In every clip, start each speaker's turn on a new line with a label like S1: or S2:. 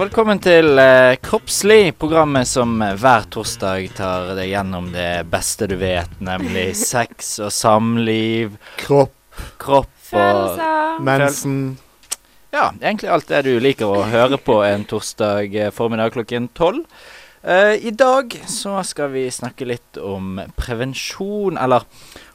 S1: velkommen til eh, Kroppslig, programmet som eh, hver torsdag tar deg gjennom det beste du vet, nemlig sex og samliv,
S2: Kropp,
S1: kropp og
S3: Følelser.
S2: mensen
S1: Ja, egentlig alt det du liker å høre på en torsdag eh, formiddag klokken tolv. Eh, I dag så skal vi snakke litt om prevensjon, eller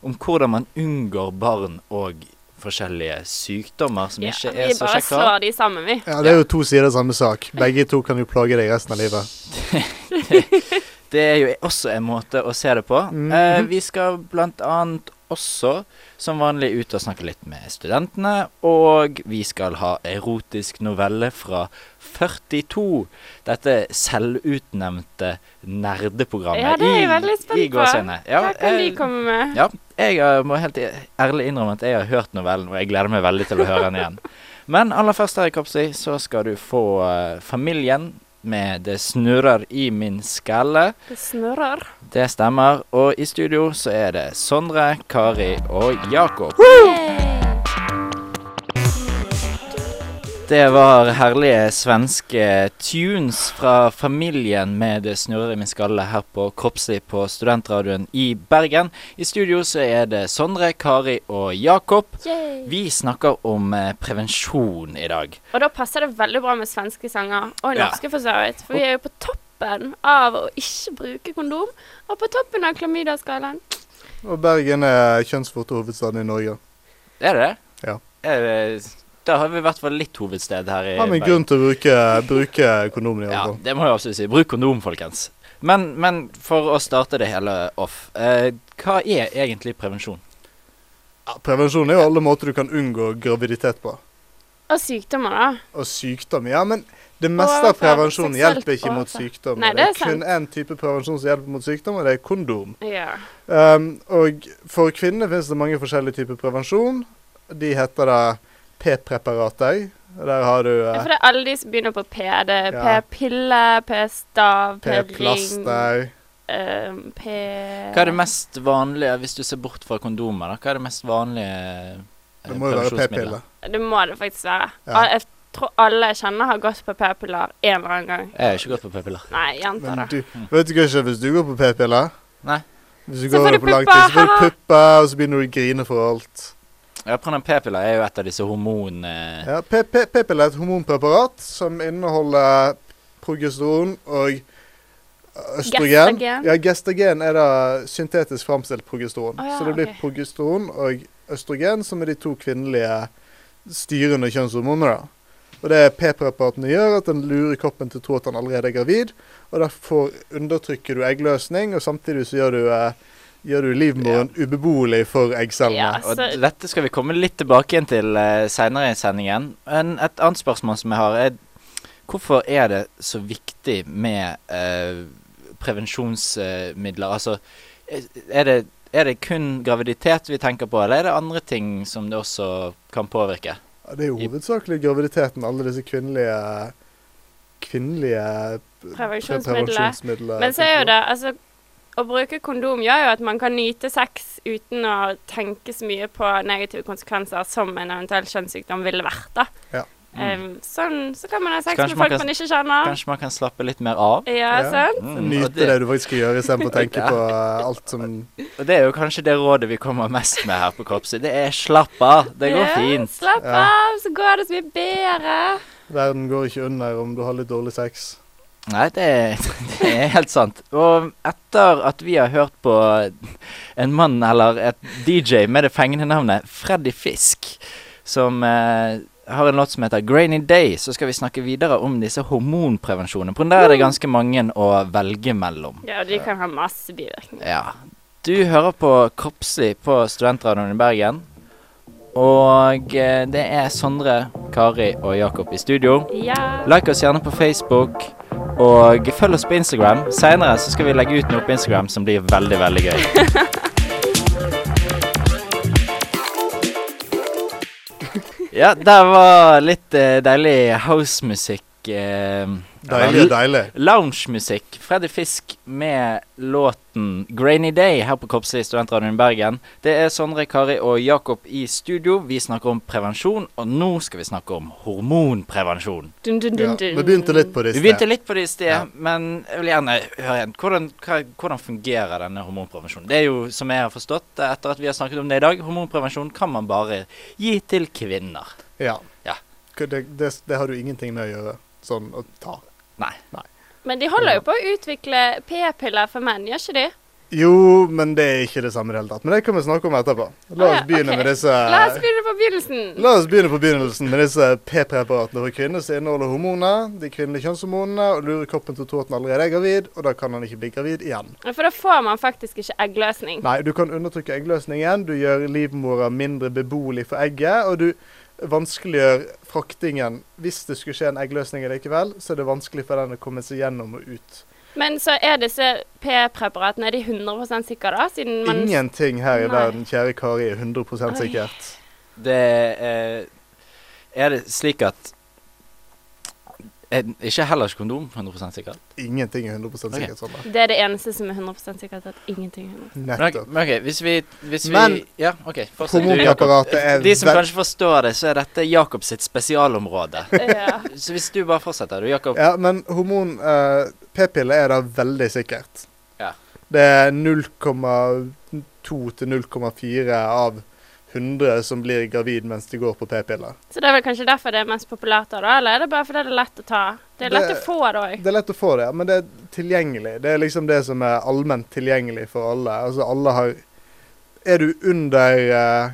S1: om hvordan man unngår barn og forskjellige sykdommer som
S3: Ja,
S1: ikke
S3: vi
S1: er så
S3: bare
S1: kjekke. å ha.
S3: slår de sammen, vi.
S2: Ja, det er jo to sider av samme sak. Begge to kan jo plage deg resten av livet.
S1: Det er jo også en måte å se det på.
S2: Mhm.
S1: Eh, vi skal blant annet også, som vanlig, ut og snakke litt med studentene. Og vi skal ha erotisk novelle fra 42. Dette selvutnevnte nerdeprogrammet.
S3: Ja, det er jeg
S1: i-
S3: veldig spent
S1: i
S3: på.
S1: gåseøyne. Ja,
S3: Hva kan de
S1: eh,
S3: komme med?
S1: ja, jeg eh, må helt i- ærlig innrømme at jeg har hørt novellen, og jeg gleder meg veldig til å høre den igjen. Men aller først her i Kopsi, så skal du få eh, Familien med Det snurrer i min skalle.
S3: Det snurrer.
S1: Det stemmer. Og i studio så er det Sondre, Kari og Jakob. Det var herlige svenske tunes fra familien med Det snurrer i min skalle her på Kroppslig på Studentradioen i Bergen. I studio så er det Sondre, Kari og Jakob. Vi snakker om eh, prevensjon i dag.
S3: Og da passer det veldig bra med svenske sanger, og
S1: Ja.
S3: norske for så vidt. For vi er jo på toppen av å ikke bruke kondom, og på toppen av klamydia-skalaen.
S2: Og Bergen er kjønnsvortehovedstaden i Norge.
S1: Er det det?
S2: Ja.
S1: Er det, da har vi i hvert fall litt hovedsted her i
S2: Har vi en
S1: Eh, Bergen.
S2: grunn til å bruke, bruke kondomen
S1: Ja,
S2: i hvert fall.
S1: det må jeg absolutt si. Bruk kondom, folkens. Men, men for å starte det hele off, eh, hva er egentlig prevensjon?
S2: Ja, prevensjon er jo alle måter du kan unngå graviditet på.
S3: Og sykdommer, da.
S2: Og sykdom. Ja, men det meste av
S3: Overfall,
S2: prevensjon
S3: seksuelt
S2: hjelper ikke mot
S3: overfall.
S2: sykdom.
S3: Nei,
S2: det
S3: det
S2: er
S3: er
S2: kun én type prevensjon som hjelper mot sykdom, og det er kondom.
S3: Ja.
S2: Um, og for kvinner finnes det mange forskjellige typer prevensjon. De heter da p-preparater. Der har du
S3: Ja,
S2: eh,
S3: For det er alle de som begynner på P. Det er
S2: Ja.
S3: P-pille, P-stav, P-ring,
S2: p-plaster.
S3: eh, P...
S1: Hva er det mest vanlige, hvis du ser bort fra kondomer, da? Hva er det mest vanlige eh,
S2: Det må jo være
S1: prevensjonsmiddelet?
S2: p-piller.
S3: Det må det faktisk være.
S2: Ja.
S3: Al- Jeg tror alle jeg kjenner har gått på p-piller en eller annen gang.
S1: Jeg er ikke godt på p-piller.
S3: Nei, jenta da.
S2: Men du, vet du hva ikke, hvis du går på p-piller
S1: Nei.
S2: Hvis du
S3: Så
S2: går
S3: får du
S2: på langtid, så får du
S3: pupper.
S2: pupper, og så begynner du å grine for alt.
S1: Ja, Prøv p-piller er jo et av disse eh, hormonene
S2: Ja, p- p- p-piller er et hormonpreparat som inneholder progesteron og østrogen.
S3: Gestagen.
S2: Ja, gestagen er da syntetisk framstilt progesteron.
S3: Å ja,
S2: så det blir
S3: ok.
S2: progesteron og østrogen som er de to kvinnelige styrende kjønnshormonene. da. Og det p-preparatene gjør, at den lurer kroppen til å tro at den allerede er gravid. Og derfor undertrykker du eggløsning, og samtidig så gjør du, eh, gjør du livmoren ubeboelig for eggcellene.
S3: Ja.
S1: Og
S3: Altså-
S1: dette skal vi komme litt tilbake igjen til eh, senere i sendingen. En, et annet spørsmål som jeg har, er hvorfor er det så viktig med eh, prevensjonsmidler? Altså, eh, er det, er det kun graviditet vi tenker på, eller er det andre ting som det også kan påvirke?
S2: Ja, det er jo
S1: I-
S2: hovedsakelig graviditeten, alle disse kvinnelige kvinnelige pre-
S3: Prevensjonsmidler.
S2: prevensjonsmidler.
S3: Men så er jo det, altså å bruke kondom gjør jo at man kan nyte sex uten å tenke så mye på negative konsekvenser som en eventuell kjønnssykdom ville vært, da.
S2: Ja. Mm.
S3: Eh, sånn så kan man ha sex
S1: Kanskje
S3: med
S1: man
S3: folk
S1: kan-
S3: man ikke kjenner.
S1: Kanskje man kan slappe litt mer av?
S3: Ja,
S2: Ja.
S3: sant?
S1: Mm,
S2: Nyte
S1: og
S2: det, du faktisk skal gjøre, istedenfor å tenke
S1: Ja.
S2: på eh, alt som
S1: Og det er jo kanskje det rådet vi kommer mest med her på Kroppslig. Det er slapp av, det går
S3: Ja,
S1: fint.
S3: Slapp
S2: Ja.
S3: av, så går det så mye bedre.
S2: Verden går ikke under om du har litt dårlig sex.
S1: Nei, det, det er helt sant. Og etter at vi har hørt på en mann, eller et DJ med det fengende navnet Freddy Fisk, som eh, har en låt som heter 'Grainy Day', så skal vi snakke videre om disse hormonprevensjonene. For der er det ganske mange å velge mellom.
S3: Ja, og de kan ha masse bivirkninger.
S1: Ja. Du hører på Kroppslig på Studentradioen i Bergen. Og eh, det er Sondre, Kari og Jakob i studio.
S3: Ja.
S1: Like oss gjerne på Facebook, og følg oss på Instagram. Seinere så skal vi legge ut noe på Instagram som blir veldig, veldig gøy. Ja, der var litt eh, deilig housemusikk fikk eh,
S2: Deilig, deilig.
S1: Loungemusikk. Freddy Fisk med låten 'Grainy Day' her på Kopse i Studentradioen i Bergen. Det er Sondre Kari og Jakob i studio. Vi snakker om prevensjon, og nå skal vi snakke om hormonprevensjon.
S3: Dun, dun, dun,
S2: Ja,
S3: dun.
S2: vi begynte litt på det i
S1: Vi
S2: sted.
S1: begynte litt på det i sted,
S2: Ja.
S1: men jeg vil gjerne høre igjen. Hvordan, hva, hvordan fungerer denne hormonprevensjonen? Det er jo, som jeg har forstått eh, etter at vi har snakket om det i dag, hormonprevensjon kan man bare gi til kvinner.
S2: Ja.
S1: Ja.
S2: K- Det, det, det har du ingenting med å gjøre. Sånn å ta.
S1: Nei.
S3: Men de holder jo på å utvikle p-piller for menn, gjør ikke de?
S2: Jo, men det er ikke det samme i det hele tatt. Men det kan vi snakke om etterpå. La
S3: Ah, ja,
S2: oss begynne
S3: ok.
S2: med disse
S3: La oss begynne på begynnelsen.
S2: La oss begynne på begynnelsen med disse p-preparatene for kvinner som inneholder hormoner, de kvinnelige kjønnshormonene, og lurer kroppen til å tro at den allerede er gravid, og da kan den ikke bli gravid igjen.
S3: For da får man faktisk ikke eggløsning.
S2: Nei, du kan undertrykke eggløsningen, du gjør livmora mindre beboelig for egget, og du vanskeliggjør fraktingen. Hvis det skulle skje en eggløsning likevel, så er det vanskelig for den å komme seg gjennom og ut.
S3: Men så er disse p-preparatene er de 100 sikre, da? Siden man
S2: Ingenting her i
S3: Nei.
S2: verden, kjære Kari, er 100 sikkert.
S1: Det eh, er det slik at eh, Ikke heller ikke kondom, 100 sikkert.
S2: Ingenting er 100
S1: Ok.
S2: sikkert, Sondre.
S3: Det er det eneste som er 100 sikkert, at ingenting er 100
S1: Men ok,
S2: Nettopp.
S1: men ok, hvis vi, hvis vi
S2: Men
S1: Ja, ok. fortsett du,
S2: Hormonpreparatet
S1: Jakob.
S2: er
S1: De som
S2: vel-
S1: kanskje forstår det, så er dette Jakob sitt spesialområde.
S3: ja.
S1: Så hvis du bare fortsetter, du, Jakob.
S2: Ja, men hormon eh, P-pille er da veldig sikkert.
S1: Ja.
S2: Det er 0,2 til 0,4 av 100 som blir gravid mens de går på p-piller.
S3: Så det er vel kanskje derfor det er mest populært, da? da, Eller er det bare fordi det er lett å ta? Det er lett
S2: Det-
S3: å få det òg.
S2: Det er lett å få det, men det er tilgjengelig. Det er liksom det som er allment tilgjengelig for alle. Altså alle har Er du under eh,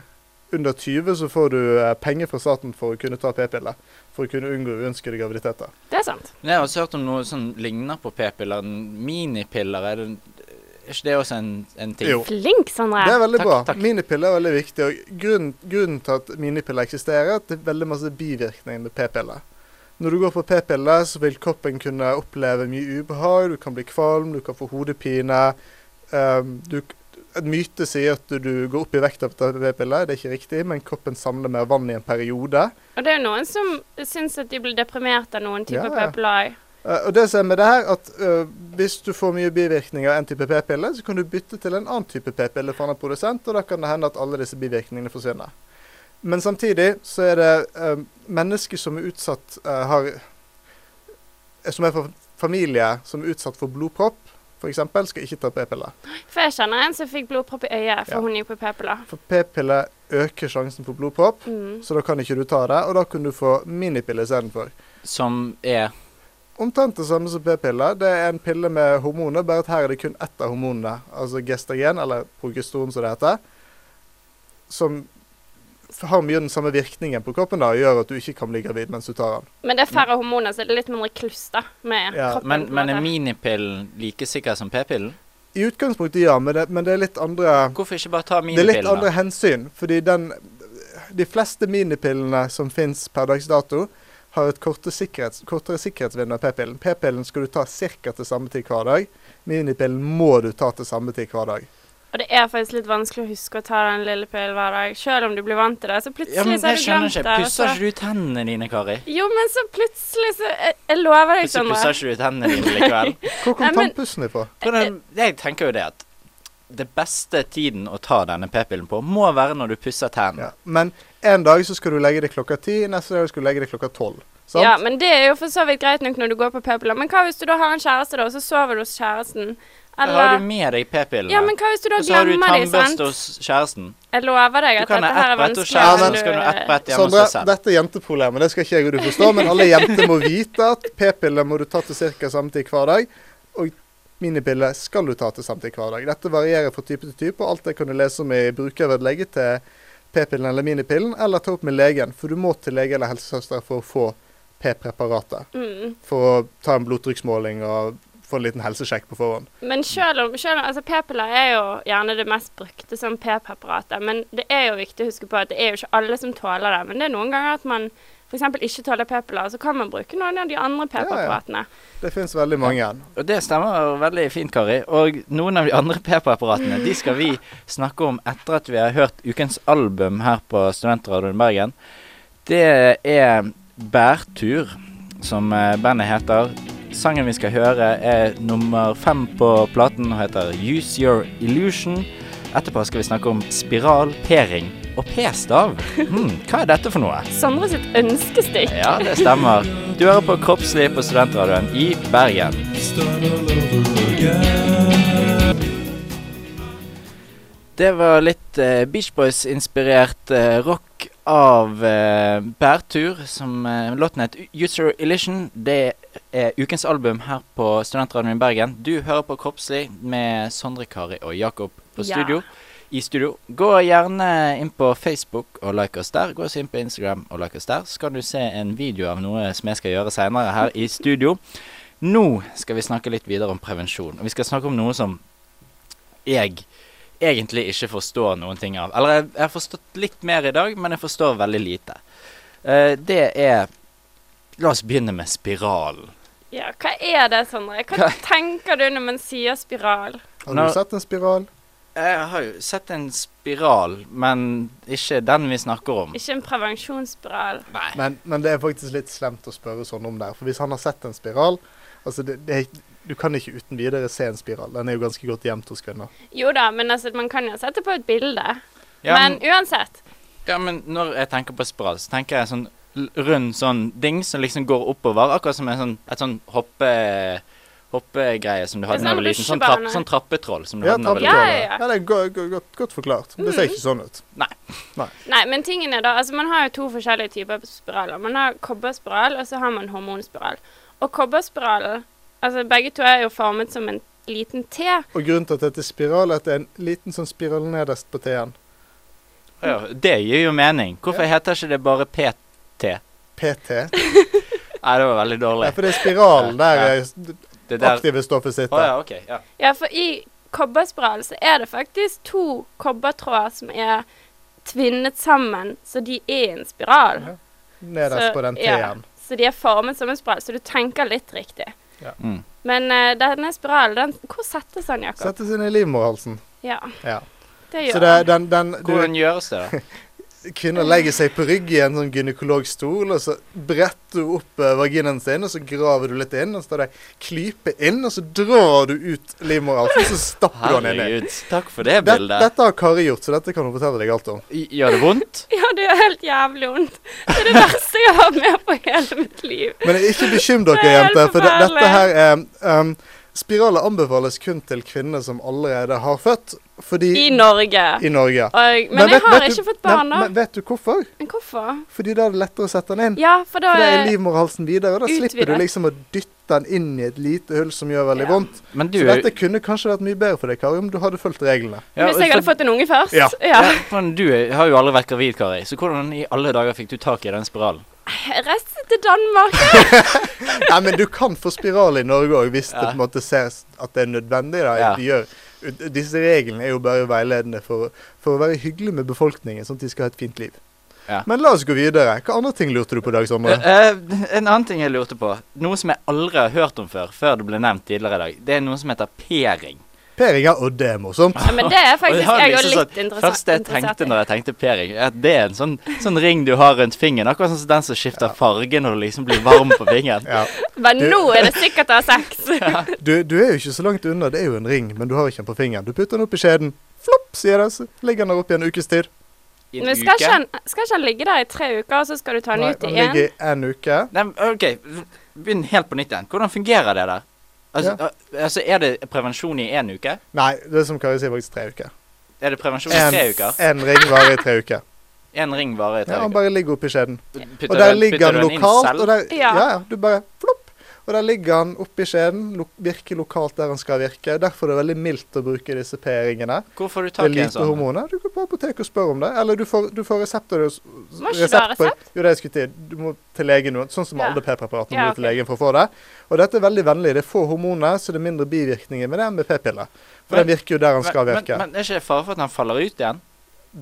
S2: under 20, så får du eh, penger fra staten for å kunne ta p-piller. For å kunne unngå uønskede graviditeter.
S3: Det er sant.
S1: Jeg har også hørt om noe som ligner på p-piller. Minipiller, er, det, er ikke det også en, en ting?
S2: Jo.
S3: Flink,
S2: Det
S3: Sondre.
S2: er veldig
S1: Takk,
S2: bra.
S1: takk.
S2: Minipiller er veldig viktig. og grunnen, grunnen til at minipiller eksisterer, er at det er veldig masse bivirkninger med p-piller. Når du går på p-piller, så vil kroppen kunne oppleve mye ubehag. Du kan bli kvalm, du kan få hodepine. Um, du, en myte sier at du, du går opp i vekt av å ta p-piller. Det er ikke riktig, men kroppen samler mer vann i en periode.
S3: Og det er jo noen som syns at de blir deprimert av noen typer
S2: Ja, ja.
S3: p-piller òg.
S2: Eh, og det som er med det her, at eh, hvis du får mye bivirkninger av en type p-pille, så kan du bytte til en annen type p-pille fra en annen produsent, og da kan det hende at alle disse bivirkningene forsvinner. Men samtidig så er det eh, mennesker som er utsatt eh, har eh, Som er fra familie som er utsatt for blodpropp, f.eks., skal ikke ta p-piller.
S3: For jeg kjenner en som fikk blodpropp i øyet, for
S2: Ja.
S3: hun gikk på p-piller.
S2: For p-piller øker sjansen for blodpropp,
S3: Mm.
S2: så da kan ikke du ta det, og da kan du få minipille istedenfor.
S1: Som er
S2: Omtrent det samme som p-piller. Det er en pille med hormoner, bare at her er det kun ett av hormonene. Altså gestagen, eller progesteron som det heter. Som f- har mye den samme virkningen på kroppen da, og gjør at du ikke kan bli gravid mens du tar den.
S3: Men det er færre hormoner, så det er litt mindre kluss da, med
S2: Ja,
S3: kroppen.
S1: Men,
S3: på en
S1: men
S3: måte.
S1: er minipillen like sikker som p-pillen?
S2: I utgangspunktet ja, men det, men det er litt andre
S1: Hvorfor ikke bare ta
S2: Det er litt
S1: minipillen?
S2: andre
S1: da?
S2: hensyn, fordi den De fleste minipillene som fins per dags dato, har et kortere, sikkerhets, kortere sikkerhetsvindu enn p-pillen. P-pillen skal du ta ca. til samme tid hver dag. Minipillen må du ta til samme tid hver dag.
S3: Og det er faktisk litt vanskelig å huske å ta den lille pillen hver dag. Selv om du blir vant til det, så plutselig
S1: Ja, men
S3: så
S1: jeg
S3: har du
S1: skjønner
S3: glemt
S1: ikke.
S3: det. altså. og
S1: Pusser
S3: så-
S1: ikke du tennene dine, Kari?
S3: Jo, men så plutselig så Jeg, jeg lover deg,
S1: Plutselig pusser
S3: Sondre.
S1: ikke du tennene dine likevel.
S2: Hvor kom
S3: Nei, men-
S2: tannpussen ifra?
S1: Hvordan, jeg tenker jo det at det beste tiden å ta denne p-pillen på, må være når du pusser
S2: Ja.
S1: tennene.
S2: Men en dag så skal du legge deg klokka ti, neste dag skal du legge deg klokka tolv. Sant?
S3: Ja, men det er jo for så vidt greit nok når du går på p-piller. Men hva hvis du da har en kjæreste, da, og så sover du hos kjæresten?
S1: Da har
S3: Eller
S1: du med deg p-pillene.
S3: Ja, men hva hvis du da
S1: og så har du
S3: glemmer de, sant?
S1: tannbørste hos kjæresten.
S3: Jeg lover deg
S1: Du
S3: at
S1: kan
S3: dette
S1: ha ett
S3: her er
S1: brett hos
S3: vanskeligere
S1: kjæresten,
S3: enn
S1: og så kan du ha ett
S3: du
S1: brett hjemme hos
S2: Sondre,
S1: deg selv.
S2: dette er jenteproblemet, det skal ikke jeg og du forstå, men alle jenter må vite at p-piller må du ta til ca. samme tid hver dag, og minipiller skal du ta til samme tid hver dag. Dette varierer fra type til type, og alt det kan du lese om i brukervedlegget til p-pillen eller minipillen, eller ta opp med legen, for du må til lege eller helsesøster for å få p-preparatet.
S3: Mm.
S2: For å ta en blodtrykksmåling og få en liten helsesjekk på forhånd.
S3: Men selv om, selv om altså p-piller er jo gjerne det mest brukte som p-preparatet, men det er jo viktig å huske på at det er jo ikke alle som tåler det. Men det er noen ganger at man f.eks. ikke tåler p-piller, så kan man bruke noen av de andre p-preparatene.
S2: Det fins veldig mange.
S1: Og det stemmer veldig fint, Kari. Og noen av de andre p-preparatene de skal vi snakke om etter at vi har hørt ukens album her på Studentradioen Bergen. Det er Bærtur, som eh, bandet heter. Sangen vi skal høre er nummer fem på platen og heter Use Your Illusion. Etterpå skal vi snakke om spiral, p-ring og p-stav. Hmm, hva er dette for noe?
S3: Sondre sitt ønskestikk.
S1: Ja, det stemmer. Du hører på Kroppslig på Studentradioen i Bergen. Det var litt eh, Beach Boys-inspirert eh, rock av eh, Bærtur, som eh, låten het User Illusion. Det er ukens album her på Studentradioen i Bergen. Du hører på Kroppslig med Sondre Kari og Jakob på
S3: Ja.
S1: studio. I studio. Gå gjerne inn på Facebook og like oss der. Gå også inn på Instagram og like oss der. Så kan du se en video av noe som jeg skal gjøre seinere her i studio. Nå skal vi snakke litt videre om prevensjon. Og vi skal snakke om noe som jeg egentlig ikke forstår noen ting av. Eller jeg, jeg har forstått litt mer i dag, men jeg forstår veldig lite. Eh, det er La oss begynne med spiralen.
S3: Ja, hva er det, Sondre? Hva
S1: Hva-
S3: tenker du når man sier spiral?
S2: Har
S1: Nå-
S2: du sett en spiral?
S1: Jeg har jo sett en spiral, men ikke den vi snakker om.
S3: Ikke en prevensjonsspiral.
S1: Nei.
S2: Men, men det er faktisk litt slemt å spørre sånn om det. her, For hvis han har sett en spiral altså det, det, er- Du kan ikke uten videre se en spiral. Den er jo ganske godt gjemt hos kvinner.
S3: Jo da, men altså, man kan jo sette på et bilde.
S1: Ja,
S3: Men uansett.
S1: Ja, men når jeg tenker på spiral, så tenker jeg sånn l- rund sånn ding som liksom går oppover. Akkurat som en sånn, et sånn hoppe... Hoppegreie som du hadde da
S3: sånn
S1: du var liten. Sånn, trapp,
S3: rutsjebane.
S1: sånn trappetroll som du
S2: Ja,
S1: hadde da du var
S3: Ja,
S1: liten.
S2: trappetroller.
S3: ja, ja.
S2: ja, det er go- go- godt, godt forklart. Det ser ikke sånn ut.
S3: Nei, men tingen er da Altså, man har jo to forskjellige typer spiraler. Man har kobberspiral, og så har man hormonspiral. Og kobberspiralen Altså, begge to er jo formet som en liten T.
S2: Og grunnen til at det heter spiral, er at det er en liten sånn spiral nederst på T-en.
S1: Ja, ja. Det gir jo mening. Hvorfor heter ikke det bare PT?
S2: PT.
S1: Nei, det var veldig dårlig.
S2: Ja, for det er spiralen der
S1: Ja.
S2: er s- det
S1: Det der
S2: aktive
S1: Å
S2: stoffet sitter.
S1: ja, OK. Ja.
S3: Ja, for i kobberspiral så er det faktisk to kobbertråder som er tvinnet sammen, så de er en spiral.
S2: Ja. Nederst
S3: Så-
S2: på den
S3: ja,
S2: T-en.
S3: så de er formet som en spiral, så du tenker litt riktig.
S2: Ja.
S1: Mm.
S3: Men eh, denne spiralen, den, hvor settes den, Jakob?
S2: Settes inn i livmorhalsen.
S3: Ja,
S2: Ja.
S3: det
S2: Så
S3: gjør
S2: det, er
S3: den.
S2: den, den, du,
S1: Hvordan gjøres det, da?
S2: Kvinner legger seg på rygg i en sånn gynekologstol, og så bretter du opp eh, vaginaen sin, og så graver du litt inn, og så tar du klype inn, og så drar du ut livmorhalsen, og så stapper du den inn i.
S1: Herregud. Takk for det
S2: Dette,
S1: bildet.
S2: dette har Kari gjort, så dette kan hun fortelle deg alt om.
S1: I- Gjør det vondt?
S3: Ja, det gjør helt jævlig vondt. Det er det verste jeg har med på hele mitt liv.
S2: Men ikke bekym
S3: Det
S2: dere,
S3: er helt
S2: jenter, for det,
S3: forferdelig.
S2: dette her er um, Spiraler anbefales kun til kvinner som allerede har født, fordi
S3: I Norge.
S2: I Norge, ja.
S3: Og, men, jeg
S2: vet-
S3: har
S2: vet du-
S3: ikke fått barn
S2: Nei,
S3: nå.
S2: Men vet du hvorfor?
S3: Men hvorfor?
S2: Fordi da er det lettere å sette den inn.
S3: Ja, for da
S2: For da er
S3: er
S2: eh, livmorhalsen videre, og da slipper
S3: Utvidet.
S2: du liksom å dytte den inn i et lite hull som gjør veldig
S3: Ja.
S2: vondt.
S1: Men du
S2: Så dette kunne kanskje vært mye bedre for deg, Kari, om du hadde fulgt reglene.
S1: Ja,
S3: Hvis jeg hadde
S1: for-
S3: fått en unge først?
S2: Ja.
S3: ja.
S1: ja, men du er- har jo aldri vært gravid, Kari, så hvordan i alle dager fikk du tak i den spiralen?
S3: Jeg reiste til Danmark.
S2: Nei, men du kan få spiral i Norge òg, hvis det
S1: Ja.
S2: på en måte ses at det er nødvendig. da.
S1: Ja.
S2: De gjør, disse reglene er jo bare veiledende for, for å være hyggelig med befolkningen, sånn at de skal ha et fint liv.
S1: Ja.
S2: Men la oss gå videre. Hva andre ting lurte du på i dag, Sondre?
S1: Eh, en annen ting jeg lurte på, noe som jeg aldri har hørt om før, før det ble nevnt tidligere i dag, det er noe som heter p-ring.
S2: Per Inga, og det er morsomt.
S3: Ja, men det er
S1: Og det
S3: faktisk
S1: har
S3: jeg òg
S1: liksom
S3: litt
S1: sånn-
S3: interessert
S1: Første jeg
S3: interessert
S1: tenkte
S3: i.
S1: når jeg tenkte p-ring, er at det er en sånn, sånn ring du har rundt fingeren, akkurat sånn som den som skifter farge når du liksom blir varm på fingeren.
S2: Ja.
S3: Men
S2: Du-
S3: nå er det sikkert å ha sex.
S2: Du, du er jo ikke så langt unna, det er jo en ring, men du har ikke den på fingeren. Du putter den opp i skjeden, flopp, sier det, så ligger den der oppe i en ukes tid.
S1: I en
S3: Men skal
S1: uke.
S3: ikke, han, skal ikke han ligge der i tre uker, og så skal du ta han
S2: Nei,
S3: ut
S2: han
S3: igjen?
S2: ligger i en uke.
S1: Nei, men, ok, begynn helt på nytt igjen. Hvordan fungerer det der? Altså, al- altså er det prevensjon i én uke?
S2: Nei, det er som Kari sier, faktisk tre uker.
S1: Er det prevensjon i
S2: En,
S1: tre uker?
S2: en ring varer i tre uker.
S1: Én ring varer i tre
S2: Ja, han
S1: uker.
S2: bare ligger oppi skjeden.
S1: Putter
S2: Og der
S1: du-
S2: ligger
S1: putter
S2: han
S1: du den inn
S2: lokalt,
S1: selv?
S2: og der, ja.
S3: Ja.
S2: ja, du bare flopp. Og der ligger han oppi skjeden, lo virker lokalt der han skal virke. Derfor er det veldig mildt å bruke disse p-ringene.
S1: Hvor får du
S2: Det er
S1: tak i en
S2: lite
S1: sånn?
S2: hormoner. Du går på apoteket og spør om det. Eller du får, du får resepter. hos-
S3: Må ikke du ha
S2: på-
S3: resept?
S2: Jo, det jeg skulle til. Du må til legen nå. Sånn som
S3: Ja.
S2: alle p-preparatene
S3: Ja,
S2: må til legen for å få det. Og dette er veldig vennlig. Det er få hormoner, så det er mindre bivirkninger med det enn med p-piller.
S1: Men-
S2: For den virker jo der han
S1: Men,
S2: skal
S1: men,
S2: virke.
S1: men er ikke det fare for at han faller ut igjen?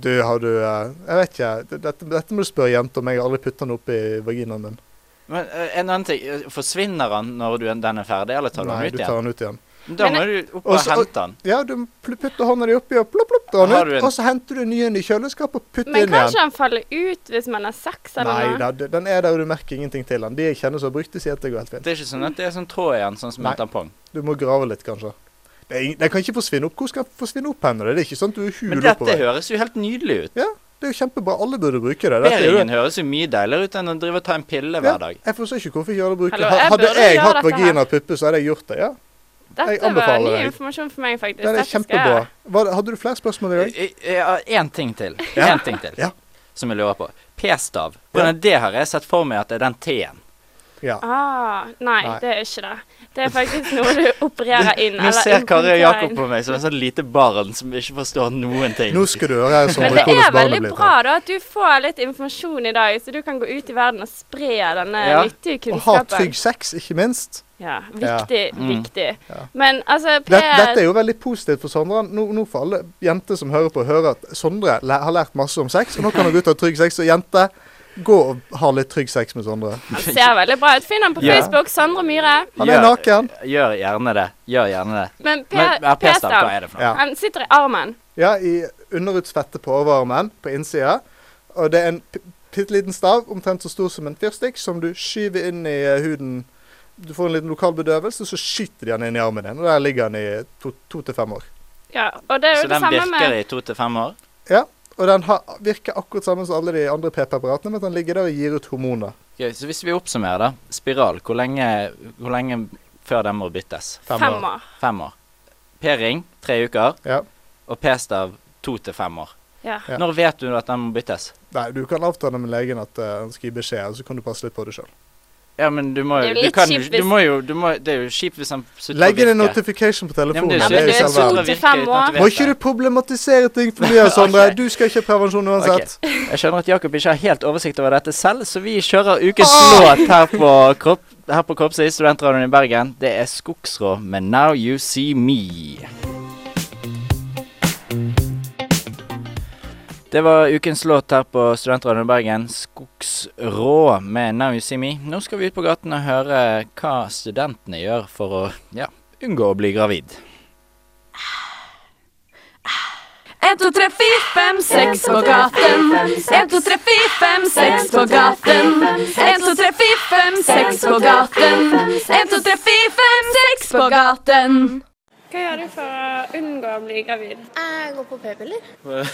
S2: Du, har du eh, Jeg vet ikke. d- Dette, dette må du spørre jenter om. Jeg har aldri puttet den opp i vaginaen min.
S1: Men eh, en annen ting, eh, Forsvinner han når du, den er ferdig, eller tar du
S2: Nei,
S1: den
S2: du
S1: ut
S2: tar
S1: igjen?
S2: den ut igjen.
S1: Da må
S3: Men-
S1: du opp og
S2: Også-
S1: hente den.
S2: Ja, du pl- putter hånda di oppi og plopp, plopp, drar
S1: Har du
S2: den ut.
S1: en-
S2: Og så henter du en ny en i kjøleskapet og putter
S3: Men
S2: inn
S3: kan
S2: igjen.
S3: ikke den falle ut hvis man har sex eller
S2: Nei
S3: noe?
S2: da, d- den er der, og du merker ingenting til den. De jeg kjenner som har brukt det, sier at det går helt fint.
S1: Det er ikke sånn at det er sånn tråd igjen, sånn som
S2: Nei.
S1: en tampong.
S2: Du må grave litt, kanskje. Det er ing- Den kan ikke forsvinne opp. Hvor skal den forsvinne opp hen? Det er ikke sånn at du
S1: Men
S2: huler
S1: dette
S2: oppover.
S1: høres jo helt nydelig ut.
S2: Det er jo kjempebra. Alle burde bruke det. Dette er jo
S1: Beringen høres jo mye deiligere ut enn å drive og ta en pille
S2: Ja.
S1: hver dag.
S2: Jeg forstår ikke hvorfor ikke alle bruker
S3: Hallo,
S2: det.
S3: jeg
S2: Hadde
S3: burde
S2: jeg
S3: gjøre
S2: hatt
S3: dette her.
S2: vagina og puppe, så hadde jeg gjort det. ja. Jeg
S3: Dette var
S2: anbefaler
S3: ny
S2: deg.
S3: informasjon for meg, faktisk.
S2: Det er
S3: Dette skal jeg
S2: kjempebra.
S3: gjøre.
S2: Var, det- hadde du flere spørsmål i dag?
S1: Jeg- jeg har Én ting til.
S2: Ja.
S1: En ting til
S2: Ja.
S1: som jeg lurer på. P-stav. Hvordan det har jeg sett for meg at det er den T-en.
S2: Ja.
S3: Ah, nei,
S2: Nei.
S3: det er ikke det. Det er faktisk noe du opererer inn.
S1: Nå
S3: eller
S1: ser Kari og
S3: implanterer
S1: Jakob
S3: inn.
S1: på meg som et sånt lite barn som ikke forstår noen ting.
S2: Nå skal du høre her, Sondre,
S3: Men det
S2: hvordan
S3: er veldig
S2: barnet blir
S3: bra
S2: til.
S3: da at du får litt informasjon i dag, så du kan gå ut i verden og spre denne
S1: Ja.
S3: nyttige
S2: Og ha
S3: kunnskapen.
S2: trygg sex, ikke minst.
S3: Ja, viktig,
S1: Mm.
S3: viktig.
S2: Ja.
S3: Men altså,
S2: Dette,
S3: Per
S2: dette er jo veldig positivt for Sondre. Nå, nå får alle jenter som hører på, høre at Sondre læ- har lært masse om sex, og nå kan hun gå ut og ha trygg sex. Og jenter, gå og ha litt trygg sex med Sondre.
S3: han ser veldig bra ut. Finn ham på
S1: Ja.
S3: Facebook, Sondre Myhre.
S2: Han er
S1: Gjør-
S2: naken.
S1: Gjør gjerne det. Gjør gjerne det.
S3: Men Per
S1: Men ja, P-stav, hva
S3: P-stav,
S1: er det for noe?
S2: Ja.
S3: han sitter i armen.
S2: Ja, i underutsfettet på overarmen på innsida. Og det er en p- bitte liten stav, omtrent så stor som en fyrstikk, som du skyver inn i eh, huden. Du får en liten lokal bedøvelse, så skyter de den inn i armen din. Og der ligger den i to, to til fem år.
S3: Ja, og det er
S1: Så
S3: jo det
S1: den
S3: samme med
S1: virker i to til fem år?
S2: Og den har, virker akkurat samme som alle de andre p-preparatene, men at den ligger der og gir ut hormoner.
S1: Ok, så hvis vi oppsummerer, da. Spiral. Hvor lenge, hvor lenge før den må byttes?
S3: fem år.
S1: Fem år. P-ring tre uker,
S2: Ja.
S1: og P-stav to til fem år.
S3: Ja.
S2: Ja.
S1: Når vet du at den må byttes?
S2: Nei, du kan avtale med legen at eh, han skal gi beskjed, og så kan du passe litt på det sjøl.
S1: Ja, men du må
S3: Det
S1: jo
S3: er jo
S1: du
S3: litt
S1: kan jo-
S3: kjipt
S1: Du
S3: hvis-
S1: må jo du må, Det er jo kjipt hvis han slutter
S2: Legg inn en
S1: virke.
S2: notification på
S1: Ja, men
S2: telefonen.
S1: det er jo
S2: det er
S3: Ja,
S2: jo
S3: men
S1: kjipt
S3: det er
S1: hvis
S2: selve
S1: han
S3: to
S2: verden.
S3: til
S1: virker
S3: fem
S1: uten at
S3: år.
S1: du
S2: Må
S1: vet
S2: ikke
S1: det.
S2: du problematisere ting for mye, Sondre. Du skal ikke ha prevensjon uansett.
S1: Ok. Jeg skjønner at Jakob ikke har helt oversikt over dette selv, så vi kjører ukens låt her på kropp. Her på Kroppsøy, Studentradioen i Bergen, det er Skogsrå med 'Now You See Me'. Det var ukens låt her på Studentradioen i Bergen, 'Skogsrå' med 'Now You See Me'. Nå skal vi ut på gaten og høre hva studentene gjør for å ja, unngå å bli gravid.
S4: 1, 2, 3, 4, 5, 6 på gaten. 1, 2, 3, 4, 5, 6 på gaten. 1, 2, 3, 4, 5, 6 på gaten. 1, 2, 3, 4, 5, 6 på gaten.
S3: Hva gjør du for å unngå å bli gravid?
S5: Jeg går på p-piller.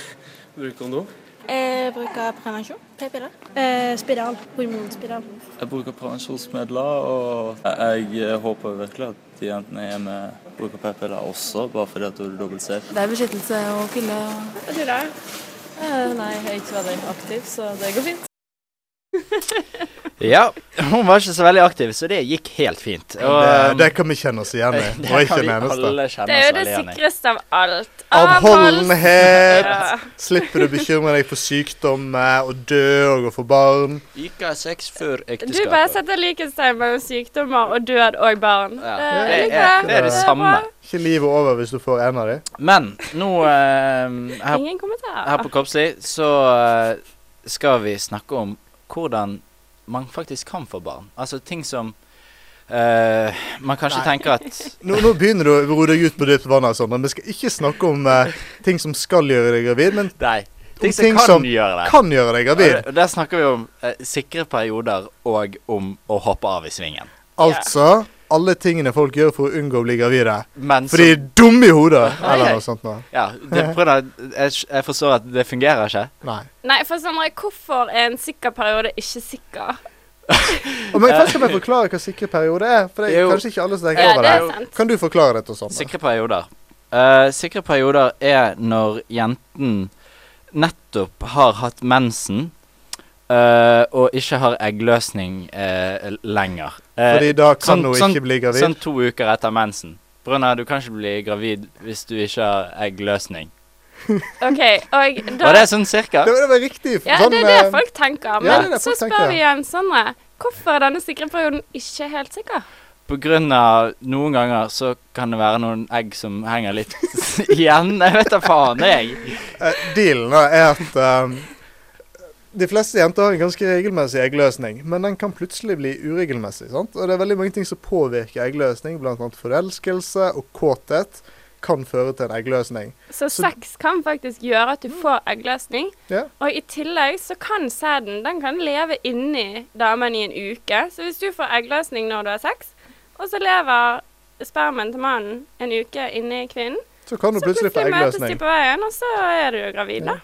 S6: Bruk kondom.
S5: Jeg bruker prevensjon. P-piller. spiral. Hormonspiral.
S6: Jeg bruker prevensjonsmidler, og jeg, jeg håper virkelig at de jentene jeg er med, bruker p-piller også, bare fordi at du er dobbelt safe.
S7: Det er beskyttelse og kulde.
S3: Og du, da?
S7: Nei, jeg har ikke vært aktiv, så det går fint.
S1: Ja, hun var ikke så veldig aktiv, så det gikk helt fint.
S2: Det,
S1: Og-
S2: det kan vi kjenne oss igjen i.
S1: Det
S2: Og ikke
S1: kan
S2: en
S1: vi
S2: eneste.
S1: alle
S3: Det
S1: kjenne
S3: er
S1: oss
S3: jo det
S1: veldig igjen i.
S3: sikreste av alt.
S2: Avholdenhet!
S3: Ja.
S2: Slipper du å bekymre deg for sykdommer og dø og å få barn.
S1: Ikke ha sex før
S3: Du bare
S1: ekteskapet.
S3: setter likhetstegn mellom sykdommer og død og barn.
S1: Ja,
S3: Eh,
S1: det,
S3: jeg liker
S1: er, det er det
S3: bra.
S1: samme.
S2: Ikke livet over hvis du får en av dem.
S1: Men nå eh, her,
S3: Ingen kommentar.
S1: her på Kroppslig så eh, skal vi snakke om hvordan man faktisk kan få barn. Altså ting som eh, man kanskje tenker at
S2: Nå, nå begynner du å roe deg ut på dypt vann. her, Sondre. Vi skal ikke snakke om eh, ting som skal gjøre deg gravid, men
S1: Nei. Ting som
S2: ting
S1: kan
S2: som
S1: gjøre det.
S2: kan gjøre deg gravid.
S1: Og der snakker vi om eh, sikre perioder og om å hoppe av i svingen.
S2: Altså alle tingene folk gjør for å unngå å bli gravide.
S1: Men
S2: For de
S1: så-
S2: er dumme i hodet,
S1: Nei,
S2: eller
S1: nei.
S2: noe sånt. noe.
S1: ja, det, på grunn av- jeg, jeg forstår at det fungerer ikke.
S2: Nei.
S3: Nei, for Sondre, hvorfor er en sikker periode ikke sikker?
S2: Og men Først skal jeg forklare hva sikre periode er. For det
S1: Det er
S2: er
S1: jo-
S2: kanskje ikke alle som
S3: Ja,
S2: tenker over
S3: det
S2: det.
S3: er sant.
S2: Kan du forklare dette, Sondre?
S1: Sikre perioder. Eh, sikre perioder er når jenten nettopp har hatt mensen eh, og ikke har eggløsning eh, lenger. Eh,
S2: Fordi da kan
S1: sånn-
S2: hun
S1: sånn-
S2: ikke bli gravid.
S1: Sånn to uker etter mensen. Brunner, du kan ikke bli gravid hvis du ikke har eggløsning.
S3: OK, og da
S1: Var det sånn cirka?
S2: Det, var- det var riktig.
S3: Ja,
S2: sånn,
S3: det er det
S2: eh,
S3: folk tenker. Men
S2: det er det
S3: så
S2: folk
S3: spør
S2: tenker.
S3: vi igjen Sondre. Hvorfor er denne sikre perioden ikke helt sikker?
S1: På grunn av noen ganger så kan det være noen egg som henger litt igjen. Jeg vet da faen, jeg.
S2: eh, dealen da er at eh, ehm, De fleste jenter har en ganske regelmessig eggløsning, men den kan plutselig bli uregelmessig. sant? Og det er veldig mange ting som påvirker eggløsning, bl.a. forelskelse og kåthet kan føre til en eggløsning.
S3: Så
S2: Så- Mm.
S3: sex kan faktisk gjøre at du får eggløsning.
S2: Ja.
S3: Og i tillegg så kan sæden den kan leve inni damen i en uke. Så hvis du får eggløsning når du har sex, og så lever spermen til mannen en uke inni kvinnen,
S2: Så kan du
S3: så
S2: plutselig få
S3: plutselig møtes de
S2: eggløsning.
S3: på veien, og så er du jo gravid, da.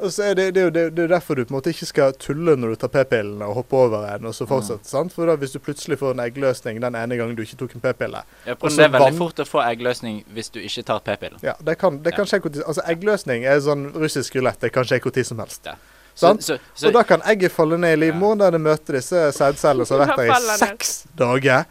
S2: Og så er det, det, er jo- det, det er jo derfor du på en måte ikke skal tulle når du tar p-pillene og hoppe over en, og så
S1: Mm.
S2: fortsette. sant? For da, hvis du plutselig får en eggløsning den ene gangen du ikke tok en p-pille
S1: Ja,
S2: Og
S1: for
S2: så
S1: det er veldig
S2: Altså vann-
S1: fort å få eggløsning hvis du ikke tar p-pillen.
S2: Ja, det kan, det kan skje hvor tid Altså, eggløsning er sånn russisk rulett. Det kan skje hvor tid som helst.
S1: Ja.
S2: Sant?
S1: Så, så,
S2: og da kan egget falle ned i livmoren der det møter disse sædcellene som har
S3: Da
S2: vært der
S3: faller
S2: i
S3: det.
S2: seks dager